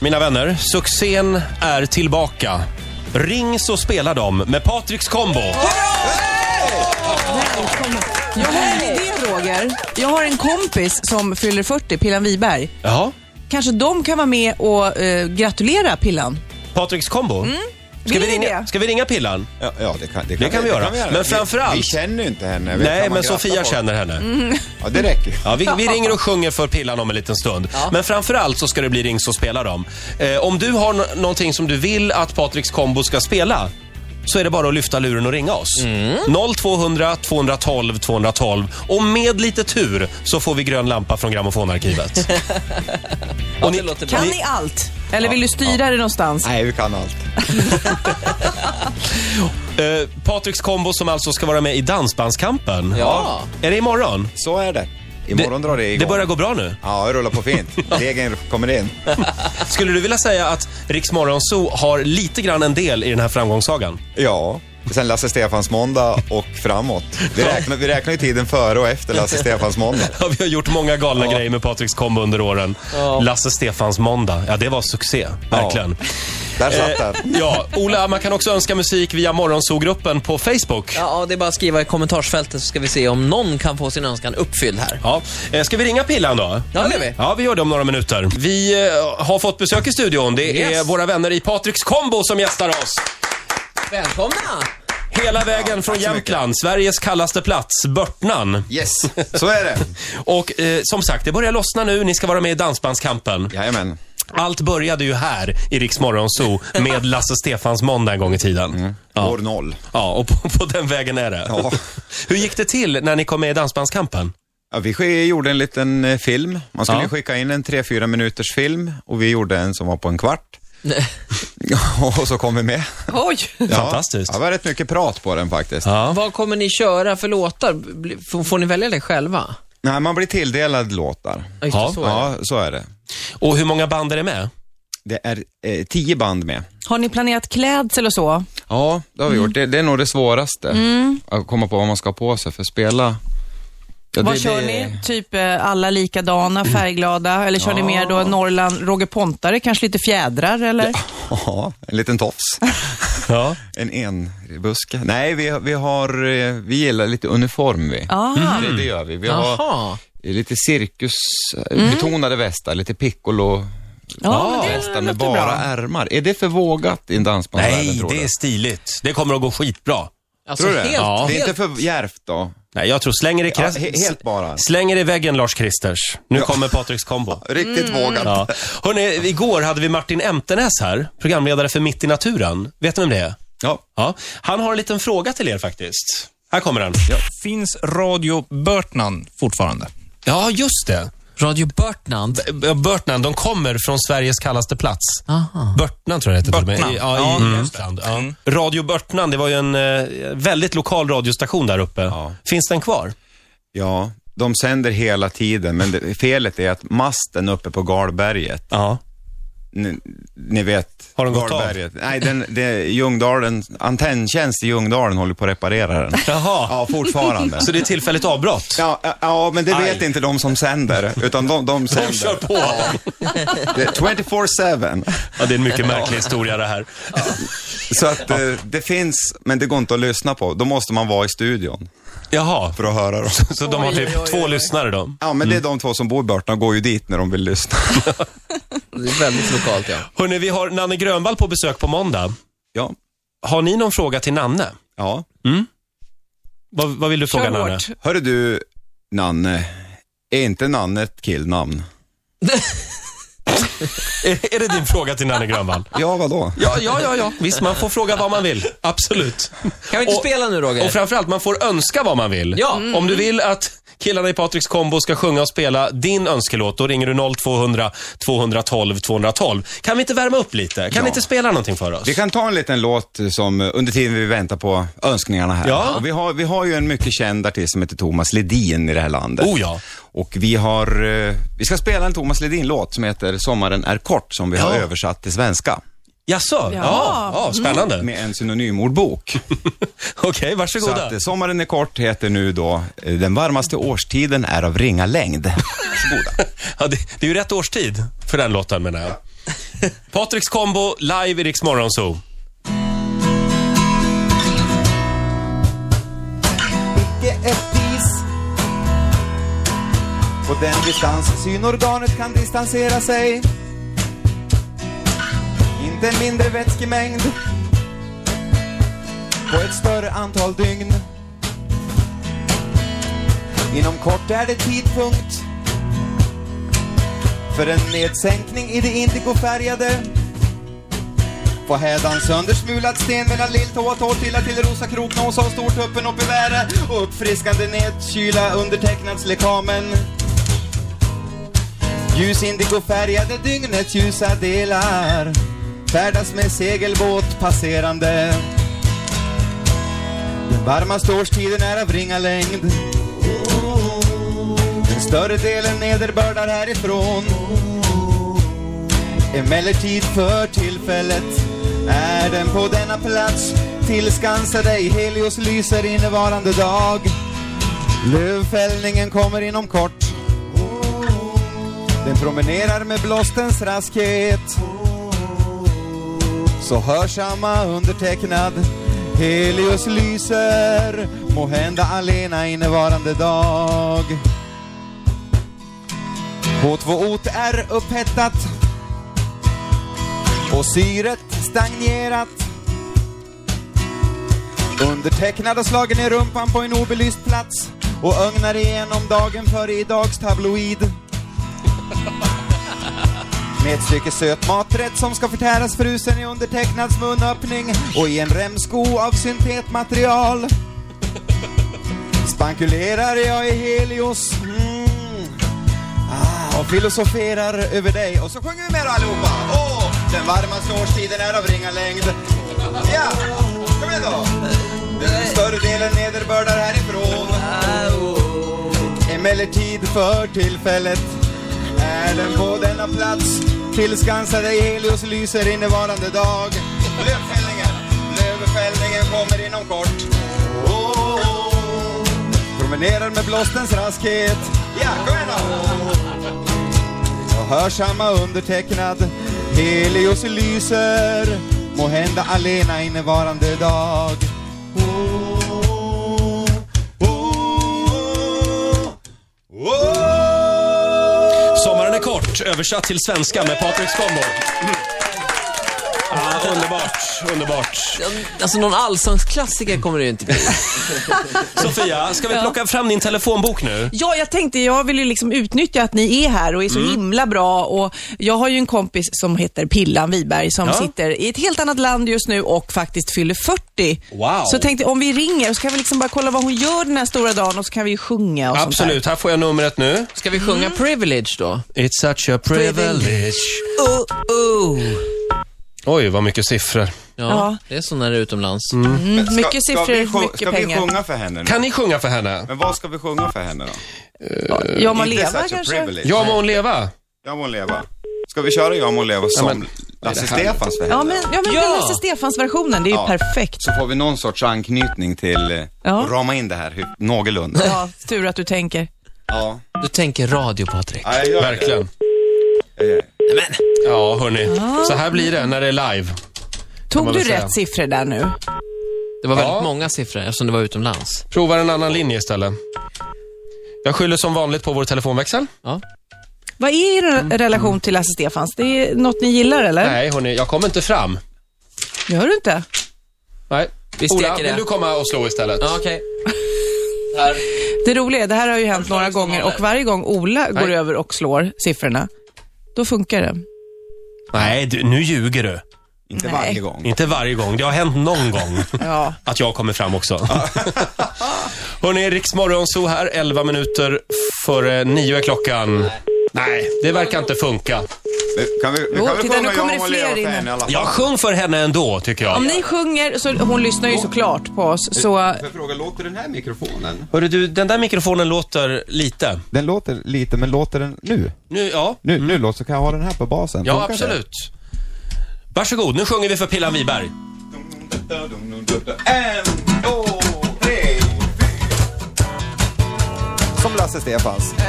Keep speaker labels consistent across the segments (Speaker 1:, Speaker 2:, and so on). Speaker 1: mina vänner. Succén är tillbaka. Ring så spelar de med Patriks Combo.
Speaker 2: Jag har en idé Roger. Jag har en kompis som fyller 40, Pillan Wiberg.
Speaker 1: Jaha,
Speaker 2: Kanske de kan vara med och eh, gratulera Pillan.
Speaker 1: Patriks Combo.
Speaker 3: Mm.
Speaker 1: Ska, vi
Speaker 2: Vill ni
Speaker 1: ringa,
Speaker 2: det?
Speaker 1: ska vi ringa Pillan?
Speaker 4: Ja, ja det, kan,
Speaker 1: Det kan vi göra. Men framförallt-
Speaker 4: Vi, vi känner ju inte henne. Vi kan
Speaker 1: Nej,
Speaker 4: man
Speaker 1: men
Speaker 4: gratta
Speaker 1: Sofia
Speaker 4: på.
Speaker 1: känner henne.
Speaker 3: Mm.
Speaker 4: Ja, det räcker ju.
Speaker 1: Ja, vi, vi ringer och sjunger för Pillan om en liten stund. Men framförallt så ska det bli Ring så spelar de. Eh, om du har no- någonting som du vill att Patriks Combo ska spela så är det bara att lyfta luren och ringa oss.
Speaker 3: Mm.
Speaker 1: 0200 212 212. Och med lite tur så får vi grön lampa från grammofonarkivet.
Speaker 3: Ja,
Speaker 1: Och ni-
Speaker 3: det låter bra.
Speaker 2: Kan ni allt? Eller vill du styra det någonstans?
Speaker 4: Nej, vi kan allt.
Speaker 1: Eh, Patriks Combo som alltså ska vara med i Dansbandskampen.
Speaker 3: Ja.
Speaker 1: Är det imorgon?
Speaker 4: Så är det. Imorgon drar det igång.
Speaker 1: Det börjar gå bra nu.
Speaker 4: Ja, det rullar på fint. Degen kommer in.
Speaker 1: Skulle du vilja säga att Rix Morgon Zoo har lite grann en del i den här framgångssagan?
Speaker 4: Ja. Sen Lasse Stefans måndag och framåt. Vi räknar, vi räknar ju tiden före och efter Lasse Stefans måndag.
Speaker 1: Ja, vi har gjort många galna grejer med Patriks kombo under åren. Lasse Stefans måndag, ja det var succé, verkligen. Eh.
Speaker 4: Där satt den.
Speaker 1: Ja, Ola, man kan också önska musik via Morgonzoo-gruppen på Facebook. Ja.
Speaker 3: Ja, det är bara att skriva i kommentarsfältet så ska vi se om någon kan få sin önskan uppfylld här.
Speaker 1: Eh, Ska vi ringa Pillan då?
Speaker 3: Ja, det gör vi.
Speaker 1: Ja, vi gör det om några minuter. Vi eh, har fått besök i studion. Det är
Speaker 3: Yes.
Speaker 1: våra vänner i Patriks Combo som gästar oss.
Speaker 3: Välkomna!
Speaker 1: Hela vägen från
Speaker 4: tack så
Speaker 1: Jämtland, Sveriges kallaste plats, Börtnan.
Speaker 4: Yes, så är det.
Speaker 1: Och eh, som sagt, det börjar lossna nu. Ni ska vara med i Dansbandskampen.
Speaker 4: Jajamän.
Speaker 1: Allt började ju här i Rix Morgon Zoo med Lasse Stefans måndag en gång i tiden. Ja.
Speaker 4: År noll.
Speaker 1: ja, och på, på den vägen är det.
Speaker 4: Mm. Ja.
Speaker 1: Hur gick det till när ni kom med i Dansbandskampen?
Speaker 4: Ja, vi sk- gjorde en liten eh, film. Man skulle
Speaker 1: Ja.
Speaker 4: ju skicka in en 3-4 minuters film och vi gjorde en som var på en kvart. och så kom vi med.
Speaker 3: Oj!
Speaker 4: Ja.
Speaker 1: Fantastiskt.
Speaker 4: Ja, det var rätt mycket prat på den faktiskt.
Speaker 1: Ja.
Speaker 3: Vad kommer ni köra för låtar? Bli- får- Får ni välja det själva?
Speaker 4: Nej, man blir tilldelad låtar.
Speaker 3: Ja, just det,
Speaker 1: Ja,
Speaker 3: så är det.
Speaker 4: Ja, så är det.
Speaker 1: Och hur många band är det med?
Speaker 4: Det är eh, tio band med.
Speaker 2: Har ni planerat klädsel och så?
Speaker 4: Ja, det har vi gjort. Det, det är nog det svåraste. Att komma på vad man ska ha på sig för att spela. Ja,
Speaker 2: Vad
Speaker 4: det-
Speaker 2: kör
Speaker 4: det-
Speaker 2: ni? Typ eh, alla likadana, färgglada? Eller kör ni mer då Norrland, Roger Pontare, kanske lite fjädrar eller?
Speaker 4: Ja, en liten tofs.
Speaker 1: Ja.
Speaker 4: en enbuske. Nej, vi, vi har, eh, vi gillar lite uniform vi.
Speaker 2: Ah.
Speaker 4: Det, det gör vi. Vi har
Speaker 3: Jaha.
Speaker 4: lite cirkusbetonade västar, lite piccolo.
Speaker 2: Mm. Ja, men det
Speaker 4: västar med
Speaker 2: låter
Speaker 4: bara
Speaker 2: bra.
Speaker 4: ärmar. Är det för vågat i en dansbandsvärld,
Speaker 1: Nej,
Speaker 4: tror
Speaker 1: det
Speaker 4: du?
Speaker 1: är stiligt. Det kommer att gå skitbra.
Speaker 3: Alltså,
Speaker 4: Tror du det?
Speaker 3: helt,
Speaker 1: Ja.
Speaker 4: Det är
Speaker 3: helt...
Speaker 4: inte för djärvt då?
Speaker 1: Nej, jag tror slänger i,
Speaker 4: Ja,
Speaker 1: krä-
Speaker 4: he- helt bara.
Speaker 1: slänger i väggen Lars-Kristers. Nu kommer Patriks kombo.
Speaker 4: Riktigt
Speaker 2: Mm.
Speaker 4: vågat.
Speaker 1: Ja. Hörrni, igår hade vi Martin Emtenäs här, programledare för Mitt i naturen. Vet ni vem det är?
Speaker 4: Ja.
Speaker 1: Ja. Han har en liten fråga till er faktiskt. Här kommer den.
Speaker 5: Finns Radio Börtnan fortfarande?
Speaker 1: Ja, just det.
Speaker 3: Radio Börtnand.
Speaker 1: B- Börtnan, de kommer från Sveriges kallaste plats.
Speaker 3: Aha.
Speaker 1: Börtnan tror jag det heter till och med. I,
Speaker 5: Börtnan.
Speaker 1: ja, i
Speaker 5: Ja, just det.
Speaker 1: Jämtland. Ja.
Speaker 5: Mm.
Speaker 1: Radio Börtnan, det var ju en eh, väldigt lokal radiostation där uppe.
Speaker 4: Ja.
Speaker 1: Finns den kvar?
Speaker 4: Ja, de sänder hela tiden, men det, felet är att masten uppe på Galberget,
Speaker 1: Ja.
Speaker 4: ni, ni vet.
Speaker 1: Har den gått av?
Speaker 4: Galberget. Nej, den, det, Ljungdalen, antenntjänst i Ljungdalen håller på att reparera den.
Speaker 1: Jaha,
Speaker 4: Ja, fortfarande.
Speaker 1: så det är tillfälligt avbrott?
Speaker 4: Ja, ja, ja, men det vet
Speaker 1: Aj.
Speaker 4: inte de som sänder, utan de, de
Speaker 1: De kör
Speaker 4: sänder.
Speaker 1: på.
Speaker 4: Det är 24-7.
Speaker 1: Ja, det är en mycket märklig historia det här.
Speaker 4: Så att eh, det finns, men det går inte att lyssna på. Då måste man vara i studion
Speaker 1: Jaha,
Speaker 4: för att höra dem.
Speaker 1: så de har
Speaker 3: Oj,
Speaker 1: typ
Speaker 3: oj, oj,
Speaker 1: två
Speaker 3: oj.
Speaker 1: lyssnare då?
Speaker 4: Ja, men det är de två som bor i Burton och går ju dit när de vill lyssna.
Speaker 3: Det är väldigt lokalt, ja.
Speaker 1: Hörrni, vi har Nanne Grönvall på besök på måndag.
Speaker 4: Ja,
Speaker 1: Har ni någon fråga till Nanne?
Speaker 4: ja.
Speaker 1: Vad, vad vill du fråga
Speaker 2: Kör
Speaker 1: Nanne?
Speaker 2: hårt.
Speaker 4: Hörru du, Nanne. Är inte Nanne ett killnamn?
Speaker 1: Är, är det din fråga till Nanne Grönvall?
Speaker 4: Ja, vadå?
Speaker 1: Ja, ja, ja, ja. Visst, man får fråga vad man vill. Absolut.
Speaker 3: Kan vi inte
Speaker 1: Och-
Speaker 3: spela nu, Roger?
Speaker 1: Och framförallt, man får önska vad man vill.
Speaker 3: Ja.
Speaker 1: Om du vill att killarna i Patriks kombo ska sjunga och spela din önskelåt, då ringer du 0200 212 212. Kan vi inte värma upp lite? Kan ni inte spela någonting för oss?
Speaker 4: Vi kan ta en liten låt som eh, under tiden vi väntar på önskningarna här.
Speaker 1: Ja.
Speaker 4: Och vi, har, vi har ju en mycket känd artist som heter Thomas Ledin i det här landet.
Speaker 1: Oh ja.
Speaker 4: Och vi har, eh, vi ska spela en Thomas Ledin-låt som heter Sommaren är kort som vi har
Speaker 1: Ja.
Speaker 4: översatt till svenska.
Speaker 1: Jaså? Ja. Ja, spännande.
Speaker 4: Med en synonymordbok.
Speaker 1: Okej,
Speaker 4: Så
Speaker 1: varsågoda.
Speaker 4: att eh, Sommaren är kort heter nu då, eh, den varmaste årstiden är av ringa längd.
Speaker 1: Ja, det, det är ju rätt årstid för den låten menar jag. Patriks kombo live i Rix Morgonzoo.
Speaker 6: icke ett dis. På den distans synorganet kan distansera sig. Inte en mindre vätskemängd. På ett större antal dygn. Inom kort är det tidpunkt för en nedsänkning i det indigofärgade. På hädan söndersmulad sten mellan lilltå och tårtilla till rosa kroknåsa och stortuppen upp i väre och uppfriskande nedkyla undertecknats lekamen. Ljusindigofärgade dygnets ljusa delar färdas med segelbåt passerande. Den varmaste årstiden är av ringa längd. Den större delen nederbördar härifrån. Emellertid för tillfället är den på denna plats Tillskansa dig, Helios lyser innevarande dag Lövfällningen kommer inom kort Den promenerar med blåstens raskhet Så hörsamma undertecknad Helios lyser Måhända alena innevarande dag H2O är upphettat och syret stagnerat. Undertecknad och slagen i rumpan på en obelyst plats och ögnar igenom dagen före i dags tabloid. Med ett stycke söt maträtt som ska förtäras frusen i undertecknads munöppning och i en remsko av syntetmaterial. Spankulerar jag i Helios mm. Ah, och filosoferar över dig. Och så sjunger vi med då allihopa. Åh, den varmaste årstiden är av ringa längd. Ja, kom igen då. Den större delen nederbördar härifrån. Emellertid för tillfället är den på denna plats. Tillskansad i Helios lyser innevarande dag. Lövfällningen, lövfällningen kommer inom kort. Promenerar med blåstens raskhet. Ja, kom igen då! Och hörsamma undertecknad Helios lyser Må hända alena innevarande dag Oh, oh, oh.
Speaker 1: Sommaren är kort, översatt till svenska med Patriks kombo. Mm. Ah, underbart, underbart.
Speaker 3: Alltså någon allsångsklassiker kommer det ju inte bli.
Speaker 1: Sofia, ska vi plocka fram din telefonbok nu?
Speaker 2: Ja, jag tänkte, jag vill ju liksom utnyttja att ni är här och är så
Speaker 1: Mm.
Speaker 2: himla bra. Och jag har ju en kompis som heter Pillan Wiberg som
Speaker 1: Ja.
Speaker 2: sitter i ett helt annat land just nu och faktiskt fyller 40.
Speaker 1: Wow.
Speaker 2: Så tänkte om vi ringer så kan vi liksom bara kolla vad hon gör den här stora dagen och så kan vi ju sjunga och sånt där.
Speaker 1: Absolut, här får jag numret nu.
Speaker 3: Ska vi sjunga Privilege då?
Speaker 1: It's such a privilege.
Speaker 3: Oh, oh.
Speaker 1: Oj, vad mycket siffror.
Speaker 3: Ja,
Speaker 2: Ja.
Speaker 3: det är så när det är utomlands.
Speaker 2: Mm, mycket
Speaker 4: ska vi,
Speaker 2: siffror,
Speaker 4: sjung-
Speaker 2: mycket
Speaker 4: ska vi
Speaker 2: pengar.
Speaker 4: sjunga för henne nu?
Speaker 1: Kan ni sjunga för henne?
Speaker 4: Men vad ska vi sjunga för henne då?
Speaker 2: Ja, man
Speaker 4: Inte
Speaker 2: lever
Speaker 4: such a
Speaker 2: kanske.
Speaker 4: privilege.
Speaker 1: Ja, må hon leva.
Speaker 4: Jag må leva. Ska vi köra Jag må leva som
Speaker 1: men-
Speaker 4: Lasse Stefans för henne?
Speaker 2: Ja, men, ja, men
Speaker 3: Ja.
Speaker 2: Lasse Stefans-versionen, det är ju
Speaker 4: Ja.
Speaker 2: perfekt.
Speaker 4: Så får vi någon sorts anknytning till eh,
Speaker 2: Ja.
Speaker 4: och rama in det här hy- någorlunda.
Speaker 2: Ja, tur att du tänker.
Speaker 4: Ja,
Speaker 3: Du tänker radio, Patrik.
Speaker 4: ja jag gör det.
Speaker 1: Verkligen.
Speaker 4: Eh,
Speaker 1: Ja, hörni. Så här blir det när det är live.
Speaker 2: Tog
Speaker 1: man
Speaker 2: du
Speaker 1: väl säga.
Speaker 2: rätt siffror där nu?
Speaker 3: Det var väldigt
Speaker 1: Ja.
Speaker 3: många siffror eftersom det var utomlands.
Speaker 1: Prova en annan linje istället. Jag skyller som vanligt på vår telefonväxel.
Speaker 3: Ja.
Speaker 2: Vad är er relation till Lasse Stefans? Det är något ni gillar eller?
Speaker 1: Mm. Nej, hörni, jag kommer inte fram.
Speaker 2: Gör du inte?
Speaker 1: Nej.
Speaker 3: Vi steker
Speaker 1: Ola,
Speaker 3: det.
Speaker 1: vill du komma och slå istället?
Speaker 3: Ja, okej. Här.
Speaker 2: Det roliga är, det här har ju hänt några gånger och varje gång Ola går
Speaker 1: Nej.
Speaker 2: över och slår siffrorna, då funkar det.
Speaker 1: Nej, du, nu ljuger du.
Speaker 4: Inte
Speaker 2: Nej.
Speaker 4: varje gång.
Speaker 1: Inte varje gång. Det har hänt någon gång
Speaker 2: Ja.
Speaker 1: att jag kommer fram också. Hörni, Riksmorgon så här, 11 minuter före 9 är klockan. Nej, det verkar inte funka.
Speaker 4: Vi- Kan vi, vi
Speaker 2: Jo,
Speaker 4: kan väl
Speaker 2: titta, nu
Speaker 4: sjunga
Speaker 2: kommer
Speaker 4: Jag må
Speaker 2: det
Speaker 4: leva
Speaker 2: fler
Speaker 4: för
Speaker 2: in.
Speaker 4: henne i alla fall?
Speaker 1: Jag sjung för henne ändå, tycker jag.
Speaker 2: Om ni sjunger, så, hon lyssnar ju såklart på oss, så
Speaker 4: Får jag fråga, låter den här mikrofonen?
Speaker 1: Hörru du, den där mikrofonen låter lite.
Speaker 4: Den låter lite, men låter den nu?
Speaker 1: Nu, ja.
Speaker 4: Nu,
Speaker 2: Mm.
Speaker 4: nu låter, så kan jag ha den här på basen?
Speaker 1: Ja,
Speaker 4: Funkar det?
Speaker 1: absolut. Varsågod, nu sjunger vi för Pillan Wiberg.
Speaker 4: En, två, tre, fyra. Som Lasse Stefans. Ja.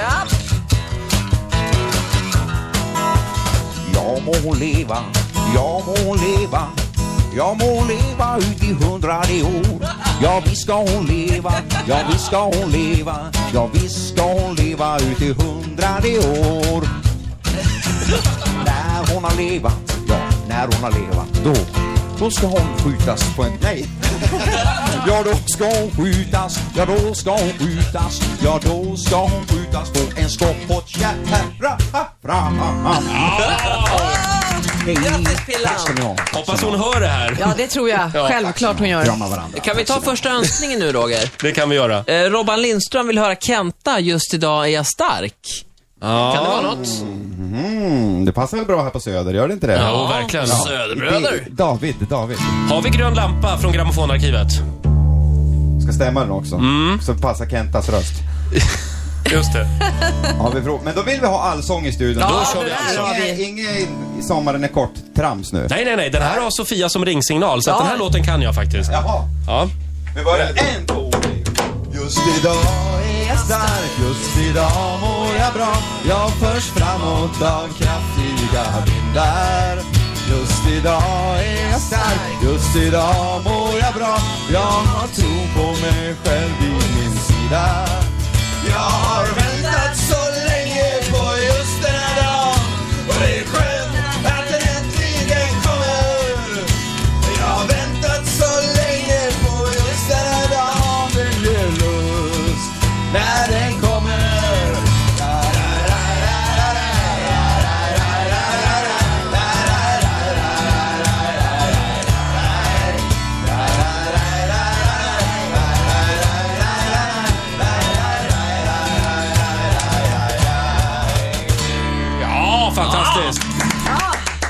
Speaker 4: Jag må leva, jag må leva Jag må leva ut i hundrade år Ja visst ska hon leva, ja visst ska hon leva Ja visst ska hon leva ut i hundrade år När hon har levat, ja när hon har levat då Då ska hon skjutas på en... Nej! Ja då ska hon skjutas, ja då ska hon skjutas, ja då ska hon skjutas på en skottpottkärra.
Speaker 3: Grattis, Pillan.
Speaker 4: Tack ska ni ha.
Speaker 1: Hoppas hon hör det här.
Speaker 2: Ja, det tror jag. Självklart hon gör.
Speaker 4: Krama varandra.
Speaker 3: Kan vi ta första önskningen nu, Roger?
Speaker 1: Det kan vi göra.
Speaker 3: Eh, Robban Lindström vill höra Kenta, just idag är jag stark. Kan det vara något?
Speaker 6: Mm, det passar väl bra här på Söder, gör det inte det?
Speaker 1: Jo, verkligen.
Speaker 3: Söderbröder.
Speaker 6: Det- David, David.
Speaker 1: Har vi grön lampa från grammofonarkivet?
Speaker 6: Ska stämma den också. Så passar Kentas röst.
Speaker 1: Just det.
Speaker 6: Har vi frå- Men då vill vi ha allsång i studion.
Speaker 1: Då kör vi
Speaker 6: Inge-
Speaker 1: alltså.
Speaker 6: Inge, sommaren är kort trams nu.
Speaker 1: Nej, nej, nej. Den här har Sofia som ringsignal, så att
Speaker 3: Ja.
Speaker 1: den här låten kan jag faktiskt.
Speaker 6: Jaha.
Speaker 1: Ja.
Speaker 6: Men var det en, två, tre. Just idag är jag stark, just idag mår jag bra. Jag förs framåt av kraftiga vindar. Just idag är jag stark, just idag mår jag bra. Jag har tro på mig själv vid min sida. Jag har väntat så länge på just den här dagen. Och det är skönt att den äntligen kommer. Jag har väntat så länge på just den här dagen Den ger lust när den kommer
Speaker 1: Ja, fantastiskt.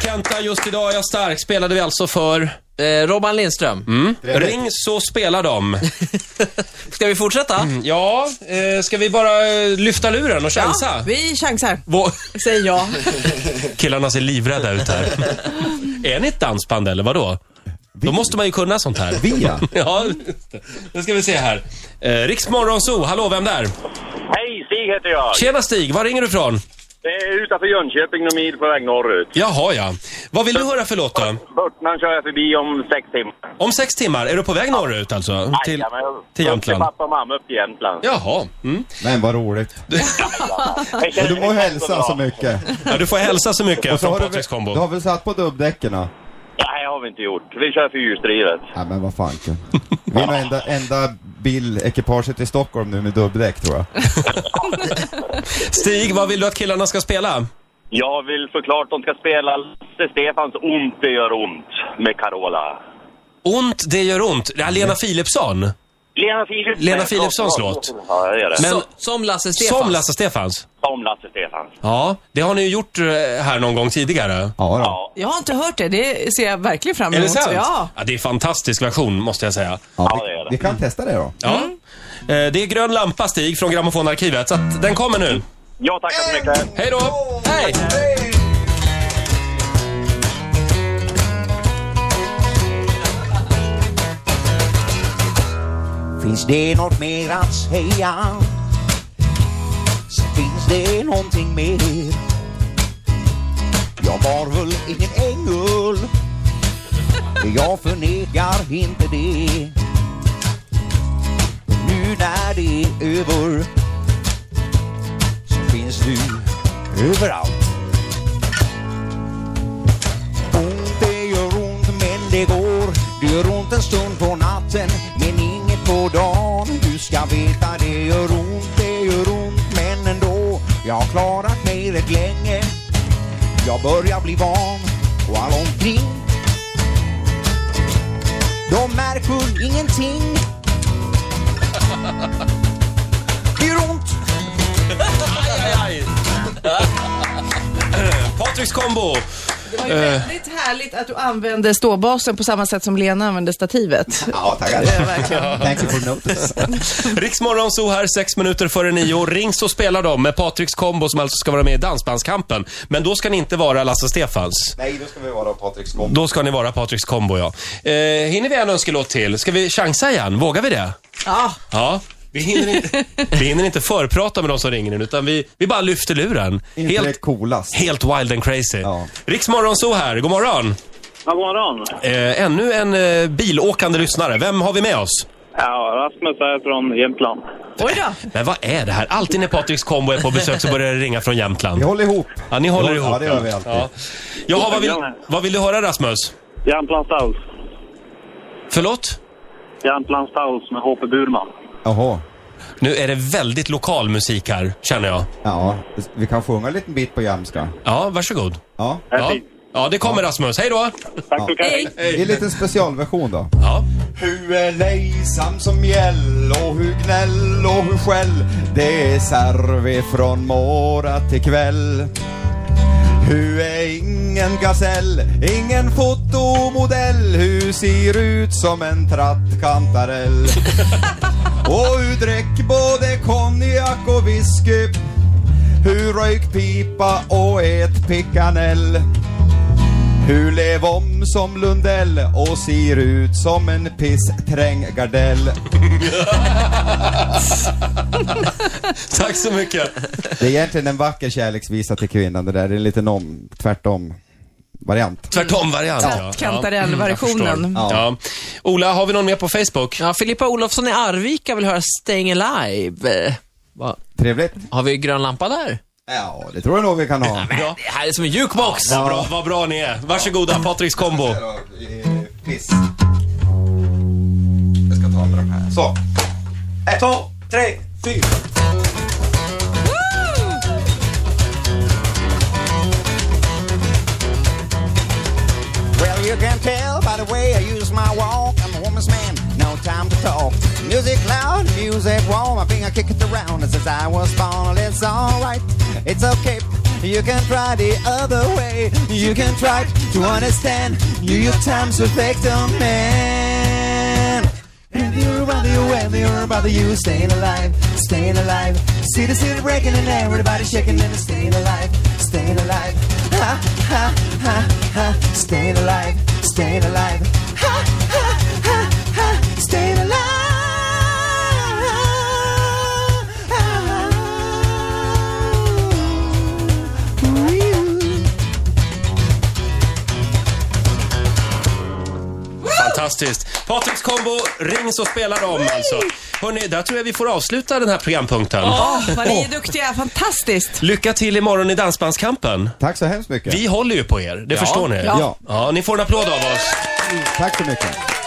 Speaker 1: Kenta, just idag är jag stark spelade vi alltså för.
Speaker 3: Eh, Robban Lindström.
Speaker 1: Mm. Ring så spelar de.
Speaker 3: Ska vi fortsätta?
Speaker 1: Mm. Ja, eh, ska vi bara eh, lyfta luren och chansa?
Speaker 2: vi chansar.
Speaker 1: Vå-
Speaker 2: Säger jag.
Speaker 1: Killarna ser livrädda ut här. är ni ett dansband eller vadå? Då måste man ju kunna sånt här.
Speaker 6: Vi ja.
Speaker 1: Ja, just det. nu ska vi se här. Eh, Riksmorgonzoo, hallå, vem där?
Speaker 7: Hej, Stig heter jag.
Speaker 1: Tjena Stig, var ringer du ifrån?
Speaker 7: Det är Eh, utanför Jönköping, någon mil på väg norrut.
Speaker 1: Jaha, ja. Vad vill du höra för låt då?
Speaker 7: Burtnan kör jag förbi om sex timmar.
Speaker 1: Om sex timmar, är du på väg norrut alltså? Till,
Speaker 7: Jajamän.
Speaker 1: till
Speaker 7: Upp till
Speaker 1: Jämtland?
Speaker 7: pappa och mamma, upp till Jämtland.
Speaker 1: Jaha. Mm.
Speaker 6: Men vad roligt.
Speaker 7: Jag känner
Speaker 6: Och du
Speaker 7: mig
Speaker 6: må
Speaker 7: inte
Speaker 6: hälsa
Speaker 7: bra.
Speaker 6: så mycket.
Speaker 1: Ja, du får hälsa så mycket
Speaker 6: Och så
Speaker 1: från
Speaker 6: har du, väl-
Speaker 1: Patriks
Speaker 6: du
Speaker 1: kombo.
Speaker 6: har väl satt på dubbdäcken? då?
Speaker 7: Nej, det har vi inte gjort. Vi kör fyrhjulsdrivet.
Speaker 6: Nej men vad fanken. Vi är nog enda, enda bilekipaget i Stockholm nu med dubbdäck tror jag.
Speaker 1: Stig, vad vill du att killarna ska spela?
Speaker 7: Jag vill såklart de ska spela Lasse Stefans Ont det gör ont med Carola.
Speaker 1: Ont, det gör ont. Det är Lena Philipsson.
Speaker 7: Lena, Philips
Speaker 1: Lena Philipssons låt.
Speaker 7: Ja, det är det.
Speaker 1: Men-
Speaker 3: Som, som Lasse Stefans.
Speaker 1: Som Lasse Stefans.
Speaker 7: Som Lasse Stefans.
Speaker 1: Ja, det har ni ju gjort eh, här någon gång tidigare.
Speaker 6: Ja, då.
Speaker 7: Ja.
Speaker 2: Jag har inte hört det. Det ser jag verkligen fram
Speaker 1: Är
Speaker 2: emot.
Speaker 1: det sant?
Speaker 2: Mm. Ja.
Speaker 1: ja. Det är en fantastisk version, måste jag säga.
Speaker 7: Ja, det är det.
Speaker 6: Vi kan testa det då.
Speaker 1: Ja. Eh, Det är grön lampa, Stig, från Grammofonarkivet. Så att den kommer nu.
Speaker 7: Jag tackar så mycket.
Speaker 1: Hej då!
Speaker 3: Hej!
Speaker 4: Finns det något mer att säga? Så finns det någonting mer? Jag var väl ingen ängel Jag förnekar inte det Men nu när det är över Så finns du överallt Ont det gör ont men det går Det gör ont en stund på natten men inget på dagen Du ska veta det gör ont, det gör ont men ändå Jag har klarat mig rätt länge Jag börjar bli van och alla omkring De märker ingenting Det gör ont
Speaker 1: Patriks kombo!
Speaker 2: Det var ju
Speaker 1: Eh.
Speaker 2: väldigt härligt att du använde ståbasen på samma sätt som Lena använde stativet.
Speaker 6: Ja, tackar.
Speaker 2: Det är verkligen.
Speaker 6: Thank you for notice.
Speaker 1: Riksmorgon så här, sex minuter före nio. Ring så spelar de med Patriks kombo som alltså ska vara med i Dansbandskampen. Men då ska ni inte vara Lasse Stefans.
Speaker 6: Nej, då ska vi vara Patriks kombo.
Speaker 1: Då ska ni vara Patriks kombo, ja. Eh, hinner vi en önskelåt till? Ska vi chansa igen? Vågar vi det?
Speaker 2: Ja,
Speaker 1: Ja. Vi hinner inte, vi hinner inte förprata med de som ringer nu, utan vi, vi bara lyfter luren.
Speaker 4: Internet
Speaker 1: Helt,
Speaker 4: coolast.
Speaker 1: helt wild and crazy.
Speaker 4: Ja.
Speaker 1: Riksmorgon så här, god morgon.
Speaker 7: Ja, god morgon.
Speaker 1: Eh, ännu en eh, bilåkande lyssnare. Vem har vi med oss?
Speaker 7: Ja, Rasmus är från Jämtland.
Speaker 2: Oj då.
Speaker 1: Men vad är det här? Alltid när Patriks kombo är på besök så börjar det ringa från Jämtland.
Speaker 4: Vi håller ihop.
Speaker 1: Ja, ni håller ihop.
Speaker 4: Ja, det gör vi alltid.
Speaker 1: Ja. Jaha, vad vill, vad vill du höra Rasmus?
Speaker 7: Jämtlandsdals.
Speaker 1: Förlåt?
Speaker 7: Jämtlandsdals med HP Burman.
Speaker 4: Jaha.
Speaker 1: Nu är det väldigt lokal musik här, känner jag.
Speaker 4: Ja, vi kan sjunga en liten bit på jämska.
Speaker 1: Ja, varsågod.
Speaker 4: Ja.
Speaker 7: Det är
Speaker 1: Ja,
Speaker 7: fint.
Speaker 1: ja det kommer Rasmus. Hej då!
Speaker 7: Tack så mycket.
Speaker 4: Det är en liten specialversion då.
Speaker 1: Ja.
Speaker 4: Hu är lejsam som gäll och hu gnäll och hu skäll Det är Särve från morra till kväll Hu är ingen gasell, ingen fotomodell Hu ser ut som en trattkantarell Och hu dräck både konjak och whisky Hu röjk pipa och ät pickanell Hu lev om som Lundell och ser ut som en pissträngardell.
Speaker 1: Tack så mycket.
Speaker 4: Det är egentligen en vacker kärleksvisa till kvinnan det där. Det är en liten om, tvärtom variant.
Speaker 1: Tvärtom-variant. Ja.
Speaker 2: Kantarell-versionen.
Speaker 1: Ja. Ja. Ola, har vi någon mer på Facebook?
Speaker 3: Ja, Filippa Olofsson i Arvika vill höra Staying Alive. Eh, Va?
Speaker 4: Trevligt.
Speaker 3: Har vi grön lampa där?
Speaker 4: Ja, det tror jag nog vi kan ha.
Speaker 1: Ja.
Speaker 3: Det här är som en jukebox.
Speaker 1: Vad bra, vad bra ni är. Varsågoda, Patriks kombo.
Speaker 4: Eh, Piss. Jag ska ta med de här. Så. Ett, två, tre, fyra.
Speaker 6: Well, you can tell by the way I use my walk. I'm a woman's man, no time to talk. Music loud, music warm. I think I kick it around since I was born. It's alright, it's okay. You can try the other way. You can try to understand. New York Times reflect on man. And you're about you, and you're about you, staying alive, staying alive. See the city breaking and everybody shaking and staying alive, staying alive. Ha, ha, ha, ha, staying alive, staying alive. Ha, ha, ha, ha, staying alive. Ooh.
Speaker 1: Fantastiskt. Patriks kombo, ring så spelar de alltså. Hörni, där tror jag vi får avsluta den här programpunkten.
Speaker 2: Åh, vad ni är duktiga. Fantastiskt.
Speaker 1: Lycka till imorgon i Dansbandskampen.
Speaker 4: Tack så hemskt mycket.
Speaker 1: Vi håller ju på er, det förstår ni.
Speaker 4: Ja.
Speaker 1: ja. Ni får en applåd av oss.
Speaker 4: Tack så mycket.